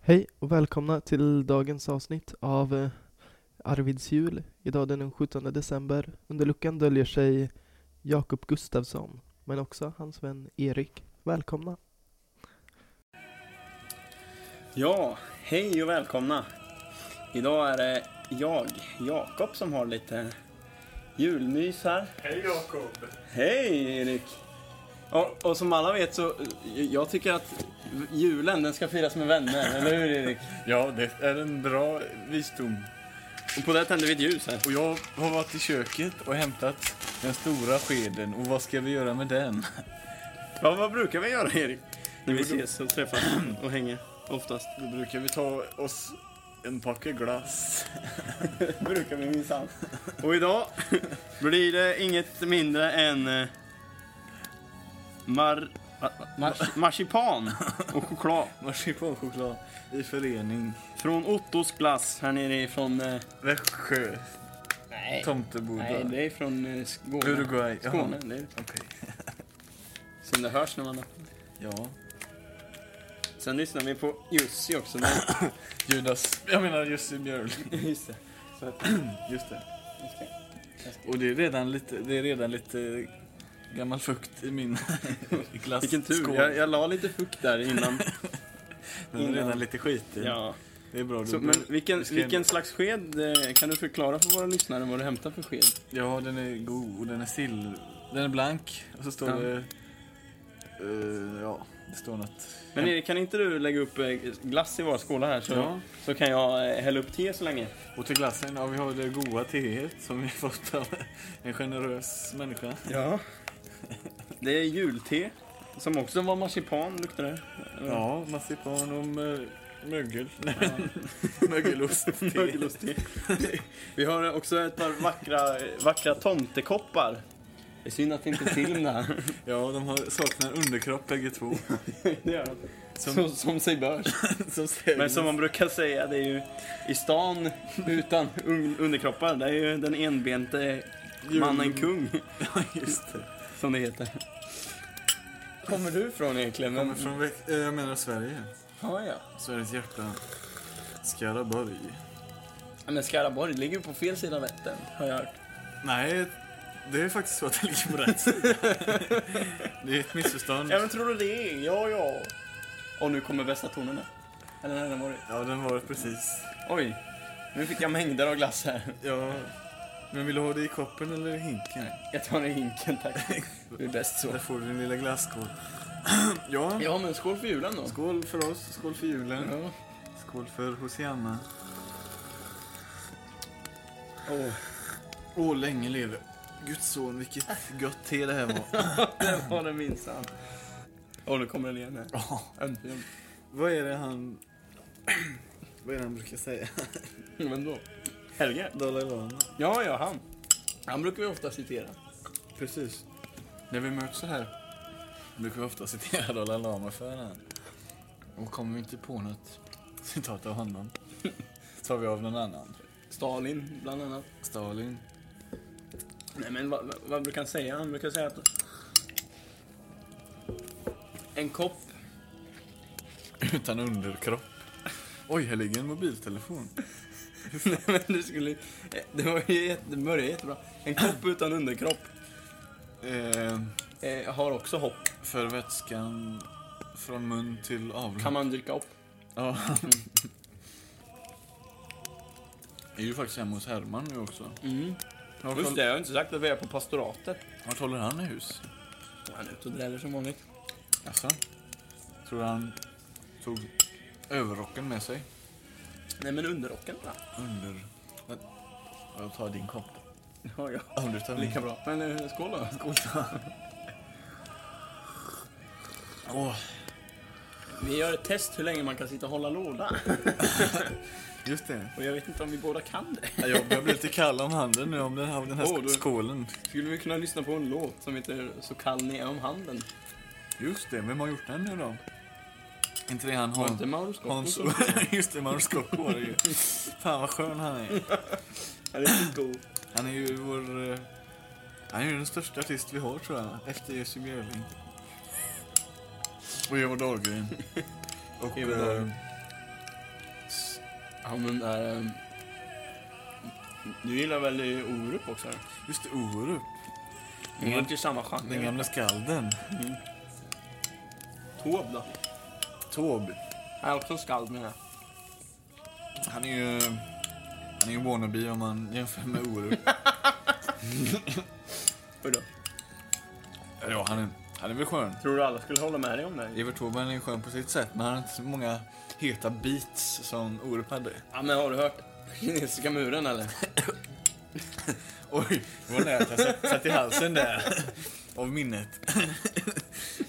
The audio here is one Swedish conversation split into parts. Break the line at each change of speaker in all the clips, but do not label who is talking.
Hej och välkomna till dagens avsnitt av eh, Arvids jul. Idag den 17 december. Under luckan döljer sig Jakob Gustafsson, men också hans vän Erik. Välkomna!
Ja, hej och välkomna! Idag är det jag, Jakob, som har lite julmys här.
Hej Jakob!
Hej Erik! Och, och som alla vet så, jag tycker att julen den ska firas med vänner, eller hur Erik?
Ja, det är en bra visdom.
Och på det tänder vi ett ljus här.
Och jag har varit i köket och hämtat den stora skeden. Och vad ska vi göra med den?
Ja, vad brukar vi göra Erik? När vi ses och träffas och hänger, oftast.
Då brukar vi ta oss en packe glass.
brukar vi minsann. Och idag blir det inget mindre än eh, mar, va- va- mars, marsipan och choklad.
Marsipanchoklad i förening.
Från Ottos glass här nere ifrån... Eh,
Växjö.
nej.
Tomteboda.
nej, det är från eh, Skåne.
Uruguay. jaha.
Skåne, det är det.
Okej.
Som det hörs när man öppnar.
Ja.
Sen lyssnar vi på Jussi också. Men,
Judas. Jag menar Jussi Björl.
just det. Så att,
Just det. Och det är redan lite, det är redan lite gammal fukt i min glass.
vilken tur. Jag, jag la lite fukt där innan.
Den är redan lite skitig.
ja.
Det är bra.
Så,
Så,
men vilken,
vi ska-
vilken slags sked? eh, Kan du förklara för våra lyssnare vad du hämtar för sked?
Ja, den är god och den är sill... Den är blank och så står
Ja.
det... eh, ja, det står något.
Men Erik, kan inte du lägga upp eh, glass i våra skålar här så,
Ja.
så kan jag eh, hälla upp te så länge?
Och till glassen, ja vi har det goda teet som vi fått av en generös människa.
Ja. Det är julte, som också var marsipan, luktar det.
Ja, marsipan och mö- mögel. Mögelost.
Mögelostte. Vi har också ett par vackra, vackra tomtekoppar. Det är synd att det inte är film det här.
Ja, de har saknar underkropp bägge två.
Det gör de.
Som-
som, som sig bör.
Som säger-
Men som man brukar säga, det är ju i stan utan un- underkroppar, det är ju den enbente mannen kung,
Ja, just det.
som det heter. kommer du ifrån egentligen?
Kommer från, Väx- eh, jag menar Sverige.
Ja, ja.
Sveriges hjärta. Skaraborg.
Men Skaraborg ligger ju på fel sida Vättern, har jag hört.
Nej, det är faktiskt så att det ligger på rätt sida. Det är ett missförstånd.
Ja, men tror du det? Ja, ja. Och nu kommer bästa tonerna. Eller nej, den var det.
Ja, den var precis.
Oj, nu fick jag mängder av glass här.
Ja. Men vill du ha det i koppen eller i hinken?
Jag tar den i hinken, tack. Det är bäst så.
Där får du din lilla glasskål. Ja,
Ja, men skål för julen då.
skål för oss, skål för julen,
Ja.
skål för Hosianna.
Åh,
Åh, länge leve Guds son, vilket gött te det här var.
det var den minsann. Åh, nu kommer den igen här.
Ja,
Äntligen.
Vad är det han... Vad är det han brukar säga?
Vem då? Helge?
Dalai Lama.
Ja, ja, han. Han brukar vi ofta citera.
Precis. När vi möts så här brukar vi ofta citera Dalai Lama för den. Och kommer vi inte på något citat av honom så tar vi av någon annan.
Stalin, bland annat.
Stalin.
Nej, men vad, vad- vad brukar han säga? Han brukar säga att... En kopp...
Utan underkropp. Oj, här ligger en mobiltelefon.
Nej, men du skulle... eh, Det var ju jätte, det började jättebra. En kopp utan underkropp
Eh,
eh, har också hopp.
för vätskan från mun till avlopp.
Kan man dricka upp.
Ja. Jag är ju faktiskt hemma hos Herman nu också.
Mm.
Vart
Just
håll-
det, jag har inte sagt att vi är på pastoratet.
vart håller han i hus?
Han är ute och dräller som vanligt.
Jaså? Tror du han tog överrocken med sig?
Nej, men underrocken va?
Under... Men- Jag tar din kopp.
Ja, ja.
Om du tar min.
Lika bra. Men eh, skål då. Skål.
Åh,
Vi gör ett test hur länge man kan sitta och hålla låda.
just det.
Och jag vet inte om vi båda kan det.
Ja, Jag börjar bli lite kall om handen nu om den här, den här
Åh, du-
skålen.
Skulle vi kunna lyssna på en låt som heter Så kall ni är om handen?
Just det, vem har gjort den nu då? Inte det han
Var inte
Hans...
Mauro Scocco
Hans...
som...
just det, Magnus Scocco var det ju. Fan vad skön han är.
Ja, det är god.
Han är ju vår... eh, Han är ju den största artist vi har tror jag. Efter Jesse Björling. Och Eva Dahlgren. Och...
Eva
eh,
Dahlgren.
Ja, men där... ehm,
eh, Du gillar väl eh, Orup också? eller?
Just det, Orup.
Mm. Det är inte samma genre.
Den gamla skalden.
Mm. Taube då?
Tåb.
Han är också skald med det.
Han är ju... Han är ju wannabe om man jämför med Orup.
Hur då?
ja, han är, han är väl skön.
Tror du alla skulle hålla med dig om det?
Evert Taube han är skön på sitt sätt, men han har inte så många heta beats som Orup hade.
Ja, men har du hört Kinesiska muren eller?
Oj, det var nära att jag satt, satt i halsen där. Av minnet.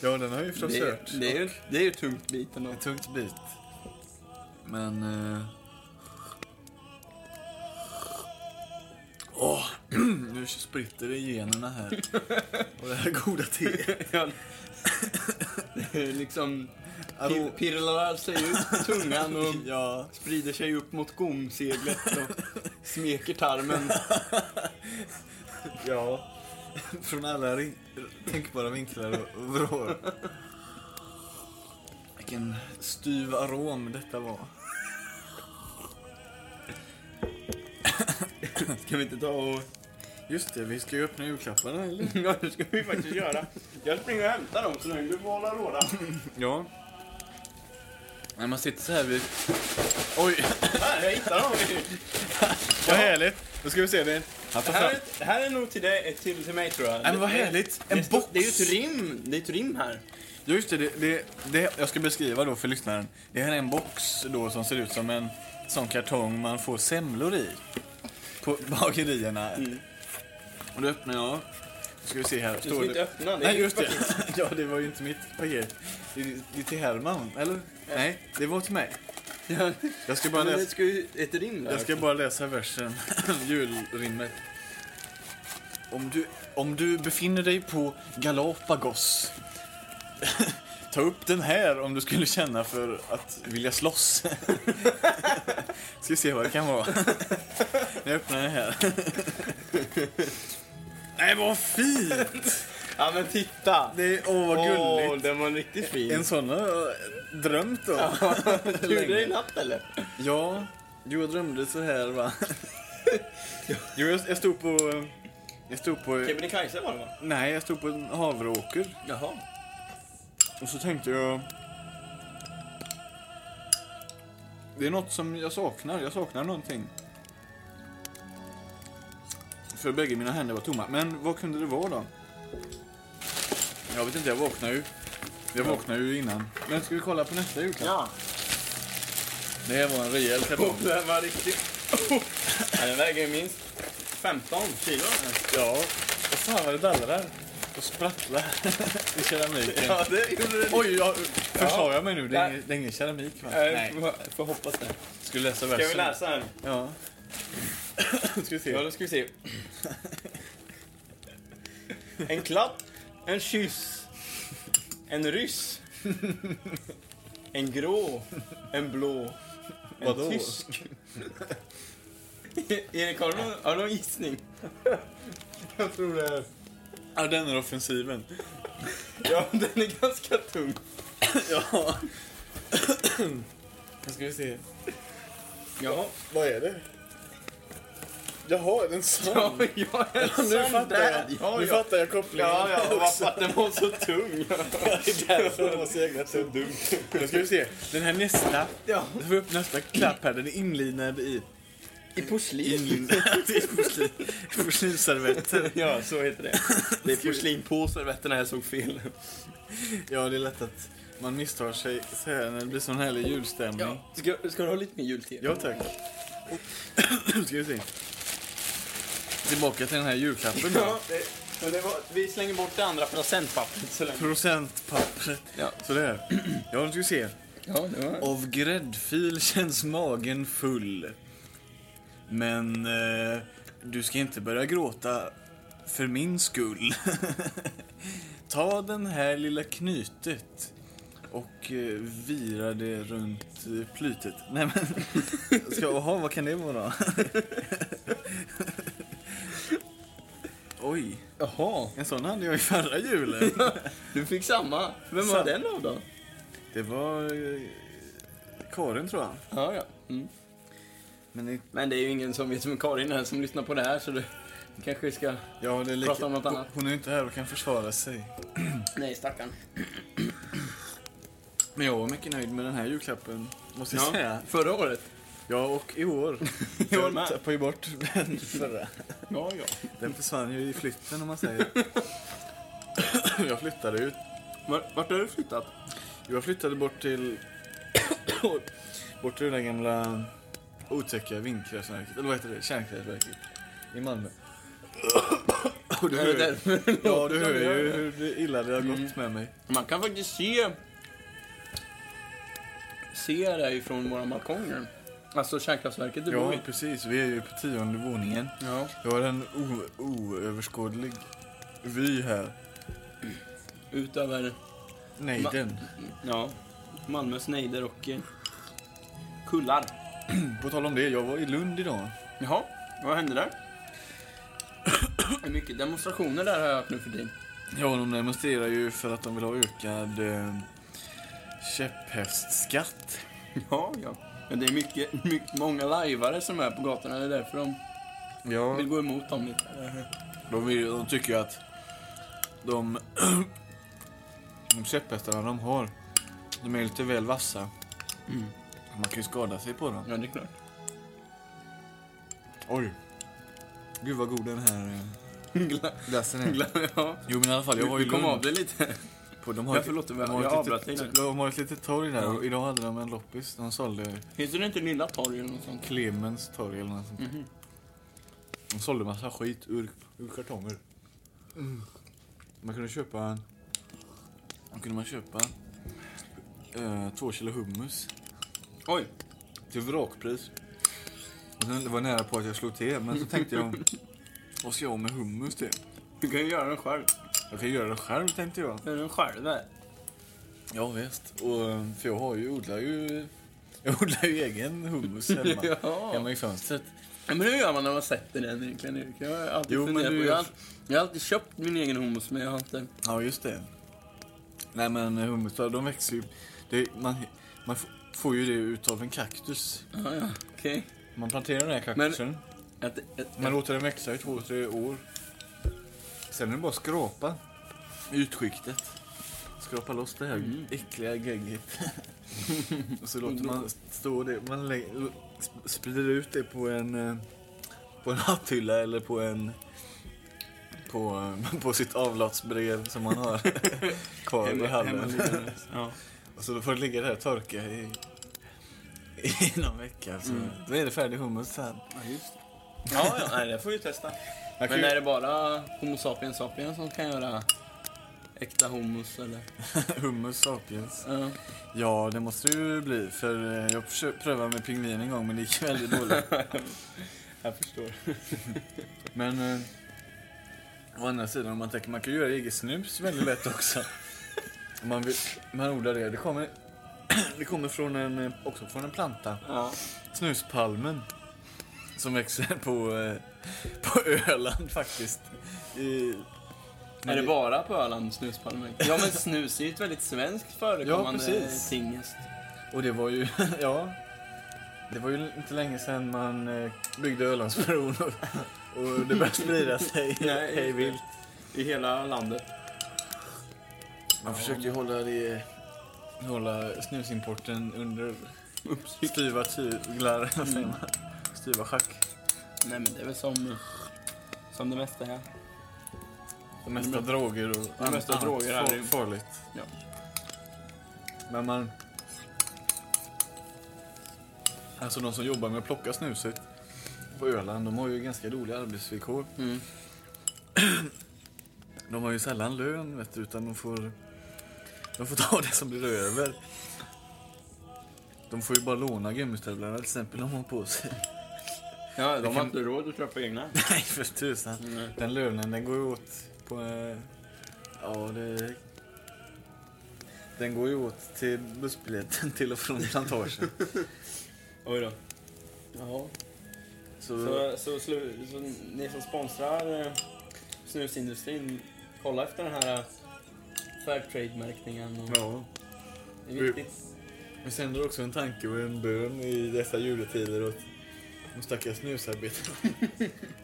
ja, den har jag ju förstås
Det,
hört.
är- det, är, ju- det är ju tungt biten då.
Ett tungt bit. Men... eh, Åh, nu spritter det i generna här. Och det här goda teet.
Ja, det är ju liksom...
Aro-
pir- Pirrar sig ut tungan och
Ja,
sprider sig upp mot gomseglet och smeker tarmen.
ja. Från alla ring- tänkbara vinklar och- och vrår. Vilken styv arom detta var.
Ska vi inte ta och...
Just det, vi ska ju öppna julklapparna eller?
Ja, det ska vi faktiskt göra. Jag springer och hämtar dem så länge du får hålla råda.
Ja. När man sitter så här vid... Oj!
Här, jag hittar dem!
Vad härligt! Då ska vi se det. Han
Det
tar
här
fram...
är, det här är nog till, dig, till, till mig tror jag.
Nej, men vad härligt!
Det,
En
det, står-
box!
det är ju ett rim. Det är ett rim här.
Ja, just det, det, det, det. Jag ska beskriva då för lyssnaren. Det här är en box då som ser ut som en sån kartong man får semlor i. På bagerierna. Och då öppnar jag. Då ska vi se här.
Du ska inte öppna. Det är
Nej,
ju-
just det. ja, det var ju inte mitt paket. Det, är- det är till Herman, eller? Nej, det var till mig.
Ja,
Jag ska bara
men
läsa.
det ska ju ett rim där.
Jag ska bara läsa versen, julrimmet. Om du, om du befinner dig på Galapagos, ta upp den här om du skulle känna för att vilja slåss. ska se vad det kan vara. Jag öppnar den här. Nej, vad fint!
Ja, men titta!
Det är, åh, vad
Åh,
gulligt.
den var riktigt fin.
En sån har jag drömt om.
Du gjorde det i natt eller?
Ja, jo, jag drömde så här va. jo, jag, jag stod på... Jag stod på...
Kebnekaise var det va?
Nej, jag stod på en havreåker
Jaha.
och så tänkte jag... Det är något som jag saknar. Jag saknar någonting. För bägge mina händer var tomma. Men vad kunde det vara då? Jag vet inte, jag vaknade ju. Jag vaknade ju innan. Men ska vi kolla på nästa julklapp?
Ja.
Det här var en rejäl kartong.
Oh, den var riktigt... Ja, den väger ju minst 15 kilo.
Ja, och fan vad det dallrar och sprattlar i keramiken.
Ja, det gjorde den.
Oj, jag, förstår jag mig nu? Det är,
Nej.
ingen, det är ingen keramik va?
Nej. Får, får hoppas det.
Ska du läsa
Ska
versen?
vi läsa här?
Ja. Ska vi
Ja,
se.
då ska vi se. En klapp, en kyss, en ryss, en grå, en blå, en
Vadå?
tysk. Erik, har du någon, har du någon gissning?
Jag tror det är... Ja, den är offensiven.
Ja, den är ganska tung.
Ja. Nu ska vi se.
Ja,
Vad är det? Jaha, är det en sån?
ja, ja en
nu
sån
fattar
där.
jag.
Ja,
nu
ja.
fattar jag kopplingen.
Ja, ja, varför att den var så tung.
Det är därför den var så jäkla så dum. Nu ska vi se. Den här nästa.
Ja,
Då får vi upp nästa klapp här. Den är inlinad i...
i porslin.
Inlinad i porslin- porslinsservetter.
Ja, så heter det. Det är porslin på servetterna, jag såg fel.
Ja, det är lätt att man misstar sig så här när det blir sån härlig julstämning.
Ja. Ska, ska du ha lite mer julte?
Ja, tack. Nu ska vi se. Tillbaka till den här julklappen då.
Ja, det, men det var, vi slänger bort det andra presentpappret så länge.
Procentpappret.
Ja.
Sådär. Ja, nu ska vi se.
Ja, det var...
Av gräddfil känns magen full. Men eh, du ska inte börja gråta för min skull. Ta den här lilla knytet och eh, vira det runt eh, plytet. Nej men, ska, aha, vad kan det vara? Oj,
Jaha.
en sån hade jag i förra julen.
Du fick samma. Vem var
Sam-
den av då?
Det var eh, Karin tror jag.
Ja, ja. Mm.
Men det,
Men det är ju ingen som vet som Karin är som lyssnar på det här så du kanske ska...
ja, det är lika,
Prata om något annat.
Hon är ju inte här och kan försvara sig.
Nej, stackarn.
Men jag var mycket nöjd med den här julklappen, måste jag säga.
förra året.
Ja, och i år.
år med.
jag tappade ju bort den förra.
Ja, ja.
Den försvann ju i flytten om man säger. jag flyttade ut.
Var, vart har du flyttat?
Jag flyttade bort till... bort till det där gamla otäcka vindkraftverket, eller vad heter det? Kärnkraftverket i Malmö. Och du
Är
hör,
det därför?
ja, du hör ju hur illa det har gått med mig.
Man kan faktiskt se... Se det ifrån våra balkonger. Alltså kärnkraftverket du bor
Ja,
i.
precis. Vi är ju på tionde våningen.
Ja.
Jag har en o- oöverskådlig vy här.
Utöver
Nej,
Ma-
den.
ja, Malmös nejder och eh, kullar.
På tal om det, jag var i Lund idag.
Jaha, vad hände där? Det är mycket demonstrationer där har jag hört nu för tiden.
Ja, de demonstrerar ju för att de vill ha ökad eh, käpphästskatt.
Ja, ja. Men det är mycket, mycket, många lajvare som är på gatorna. Det är därför de
Ja.
vill gå emot dem lite.
De, vill, de tycker ju att de, de käpphästarna de har, de är lite väl vassa.
Mm.
Man kan ju skada sig på dem.
Ja, det är klart.
Oj. Gud vad god den här eh,
Gla-
glassen är.
gla- ja.
Jo men i alla fall, jag var
Du,
ju
du
i
kom av
Lund.
det lite.
På, de
Ja, förlåt,
de
jag
har
avbröt
ett
dig där.
litet, de har ett litet torg där
Ja.
och idag hade de en loppis. De sålde
Finns det inte Lilla torg eller något sånt?
Clemens torg eller något sånt.
Mhm.
De sålde massa skit ur, ur kartonger. Man kunde köpa... Man kunde man köpa eh, två kilo hummus
Oj,
till vrakpris. Och sen, det var nära på att jag slog till, men så tänkte jag... Vad ska jag med hummus till?
du kan ju göra den själv.
Jag kan göra det själv, tänkte jag.
Gör den själv där.
Ja, visst. Och, eh, för jag har ju, odlar ju... Jag odlar ju egen hummus hemma,
Ja.
hemma i fönstret.
Ja, men hur gör man när man sätter den egentligen? Erik? Jag har alltid
Jo, men
funderat på
du
jag
gör-
har, alltid- jag har alltid köpt min egen hummus, men jag har inte...
Ja, just det. Nej, men eh, hummusar, de växer ju... Det, man, man f- får ju det utav en kaktus.
Ja, ja, okej.
Man planterar den här kaktusen,
Ett, ett,
man låter den växa i två, tre år. Sen är det bara att skrapa ytskiktet. Skrapa loss det här
Mm.
äckliga gegget. och så låter
Och då-
man stå det, man lä- sp- sprider ut det på en, eh, på en hatthylla eller på en på, eh, på sitt avlatsbrev som man har kvar i hallen.
hemmaliggandes. ja.
Och så får det ligga där och torka i, i någon vecka. Så.
Mm.
Då är det färdig hummus sen.
ja, just det. Ja, ja, nej, det får vi testa.
Jag
Men
kan ju-
är det bara Homo sapiens sapiens som kan göra äkta hummus eller?
Hummus sapiens.
Ja.
Ja, det måste det ju bli. För eh, jag försö- prövade med pingvin en gång, men det gick väldigt dåligt.
Jag förstår.
Men eh, å andra sidan, om man tänker, man kan ju göra eget snus väldigt lätt också. Om man, vill, man odlar det. Det kommer, det kommer från en, eh, också från en planta.
Ja.
Snuspalmen. Som växer på, eh, på Öland faktiskt. I,
Är det bara på Öland snuspalmer? Ja, men snus är ju ett väldigt svenskt förekommande
Ja, precis.
tingest.
Och det var ju, ja. Det var ju inte länge sedan man eh, byggde Ölandsbron och, och det började sprida sig
Nej,
hej vilt.
I hela landet.
Man försökte ju hålla, det, hålla snusimporten under styva tyglar, vad säger man? Styva schack.
Nej, men det är väl som, som det mesta här.
Det mesta droger och
Mm. Det mesta
annat
droger här
far-
är-
farligt.
Ja.
Men man... Alltså de som jobbar med att plocka snuset på Öland, de har ju ganska dåliga arbetsvillkor.
Mm.
De har ju sällan lön, vet du, utan de får, de får ta det som blir över. De får ju bara låna gummistövlarna till exempel de har på sig.
Ja, de
Det
har
kan-
inte råd att köpa egna.
Nej, för tusan. Den lönen, den går ju åt på... eh, Ja, det... Den går ju åt till bussbiljetten till och från plantagen.
Oj då. Jaha.
Så,
Så, så, slu, så ni som sponsrar eh, snusindustrin, kolla efter den här eh, Fairtrade-märkningen. och-
ja.
Det är viktigt.
Vi sänder också en tanke och en bön i dessa juletider åt
De stackars snusarbetarna.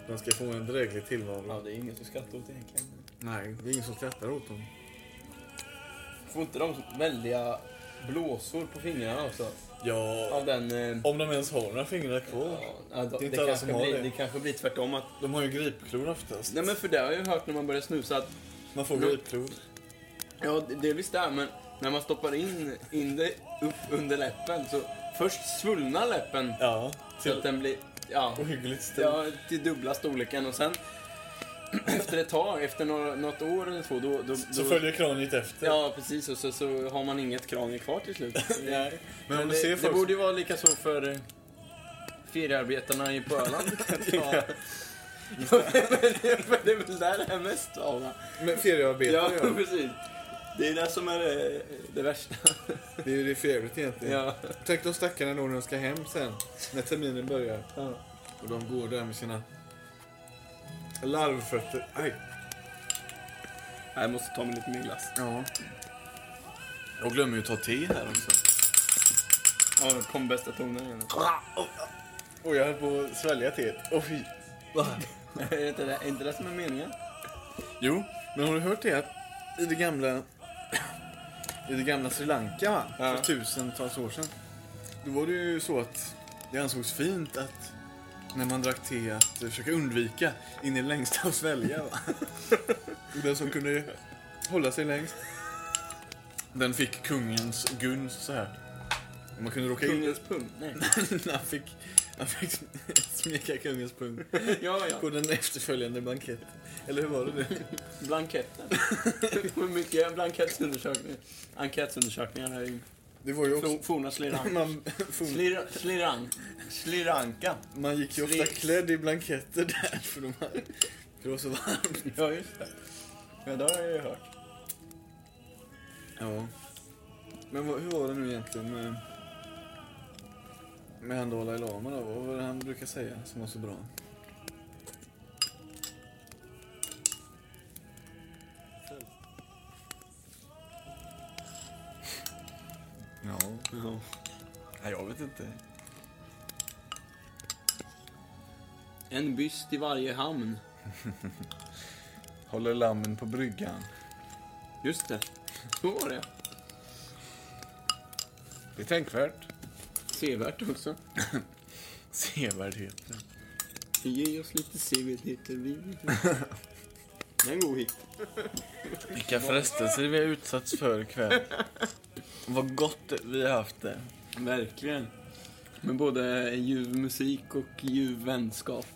De ska få en dräglig tillvaro.
det är ingen som skrattar åt egentligen.
Nej, det är ingen som skrattar åt dem.
Får inte de väldiga blåsor på fingrarna också?
Ja,
Av den... eh,
om de ens har några fingrar kvar.
ja, ja, det,
inte
det,
alla
kanske
som har
blir, det.
det.
kanske blir tvärtom att...
De har ju gripklor oftast.
Nej men för det har jag ju hört när man börjar snusa att...
Man får
Nu-
gripklor.
Ja, det- delvis där men när man stoppar in, in det upp under läppen så först svullnar läppen
Ja,
så att
till
den blir... Ja,
ohyggligt stor.
ja, till dubbla storleken och sen efter ett tag, efter några, något år eller två, då... då,
Så
då
följer kraniet efter.
Ja, precis. Och så, så har man inget kranier kvar till slut.
Nej. Men
Men
om du
det,
ser
det
folk...
borde ju vara lika så för eh, feriearbetarna i- på Öland. kanske.
Ja.
Men det är väl där det är mest av. va?
Men feriearbetare,
Ja,
ja.
precis. Det är det som är det, det värsta.
Det är ju det för jävligt egentligen.
Ja.
Tänk de stackarna då när de ska hem sen, när terminen börjar.
Ja.
Och de går där med sina larvfötter. Aj.
Jag måste ta mig lite mer glass.
Ja. Jag glömmer ju att ta te här också.
Ja, det kom bästa tonen igen.
Och jag höll på att svälja teet. Åh fy.
är det inte det, är inte det som är meningen?
Jo, men har du hört det att i det gamla, i det gamla Sri Lanka va?
Ja.
för tusentals år sedan. Då var det ju så att det ansågs fint att när man drack te att försöka undvika in i det längsta och svälja. Va? Och den som kunde hålla sig längst, den fick kungens gun så här. Och Man kunde råka in...
Kungens pung? Nej.
han fick, han fick smeka kungens pung
Ja, ja.
på den efterföljande blanketten. Eller hur var det nu?
Blanketten. Hur mycket blankettundersökningar? Enkätundersökningar här i
Det var ju också...
fo- forna Sri Lanka.
Man, for,
Slira- Slirang. Sliranka.
man gick ju ofta
Sli-
klädd i blanketter där för, de här, för det var så varmt.
Ja, just det. Ja, det har jag ju hört.
Ja. Men vad, hur var det nu egentligen med, med han Dalai Lama då? Vad var det han brukar säga som var så bra? Ja.
Nej, jag vet inte.
En byst i varje hamn.
Håller lammen på bryggan.
Just det. Så var det.
Det är tänkvärt.
Sevärt också.
Sevärdheten.
Ge oss lite sevärdheter, vi vill. Det är en god hit.
Vilka frestelser vi har utsatts för ikväll. Vad gott vi har haft det.
Verkligen. Med både ljuv musik och ljuv vänskap.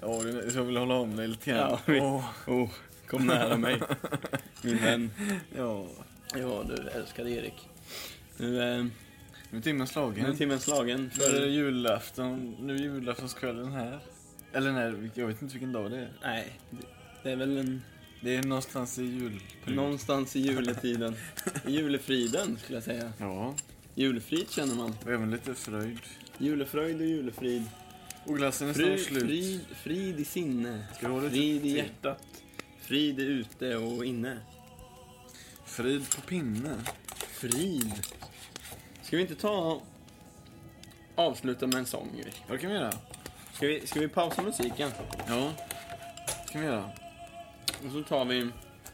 Ja, det- jag vill hålla om dig lite grann.
Ja, vi-
Åh,
Oh, kom nära mig. Min vän.
ja.
Ja, du älskade Erik. Nu eh,
Nu är timmen
nu är
slagen.
timmen slagen.
Nu är det julafton. Nu är julaftonskvällen här. Eller nej, vilk- jag vet inte vilken dag det är.
Nej, det- det är väl en...
Det är någonstans i julperioden.
Någonstans i juletiden. I julefriden, skulle jag säga.
Ja,
Julefrid känner man.
och även lite fröjd.
Julefröjd och julefrid.
Och glassen är
Fri,
snart slut.
frid, frid i sinne,
Ska du ha lite
frid i
te?
typ hjärtat, frid är ute och inne.
Frid på pinne.
Frid. Ska vi inte ta avsluta med en sång, Erik?
Ja, det kan vi göra.
Ska vi, ska vi pausa musiken?
Ja, det kan vi göra.
Och så tar vi...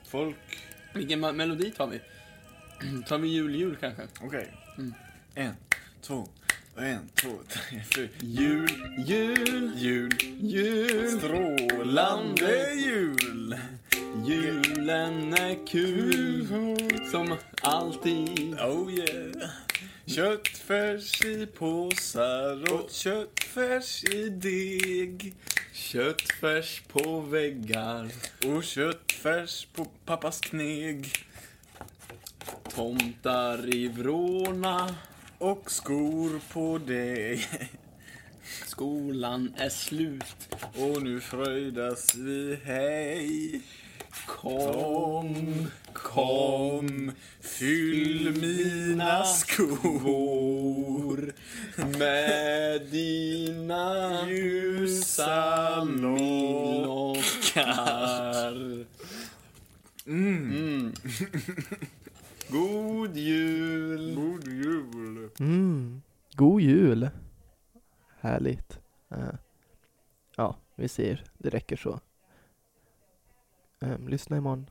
Folk.
Vilken ma- melodi tar vi? tar vi jul, jul kanske?
Okej.
Mm.
En, två, en, två, tre, fyra.
Jul, jul,
Jul.
jul.
Strålande jul.
Julen är kul, som alltid.
Oh yeah. Köttfärs i påsar och köttfärs i deg.
Köttfärs på väggar.
Och köttfärs på pappas kneg.
Tomtar i vrårna
Och skor på dig.
Skolan är slut
Och nu fröjdas vi, hej.
Kom
Kom, fyll mina skor
med dina ljusa
Ljusa lock.
lockar
Mm.
mm. God jul
God jul.
Mm. God jul! Härligt. Eh, ja, vi ser. Det räcker så. Eh, lyssna imorgon.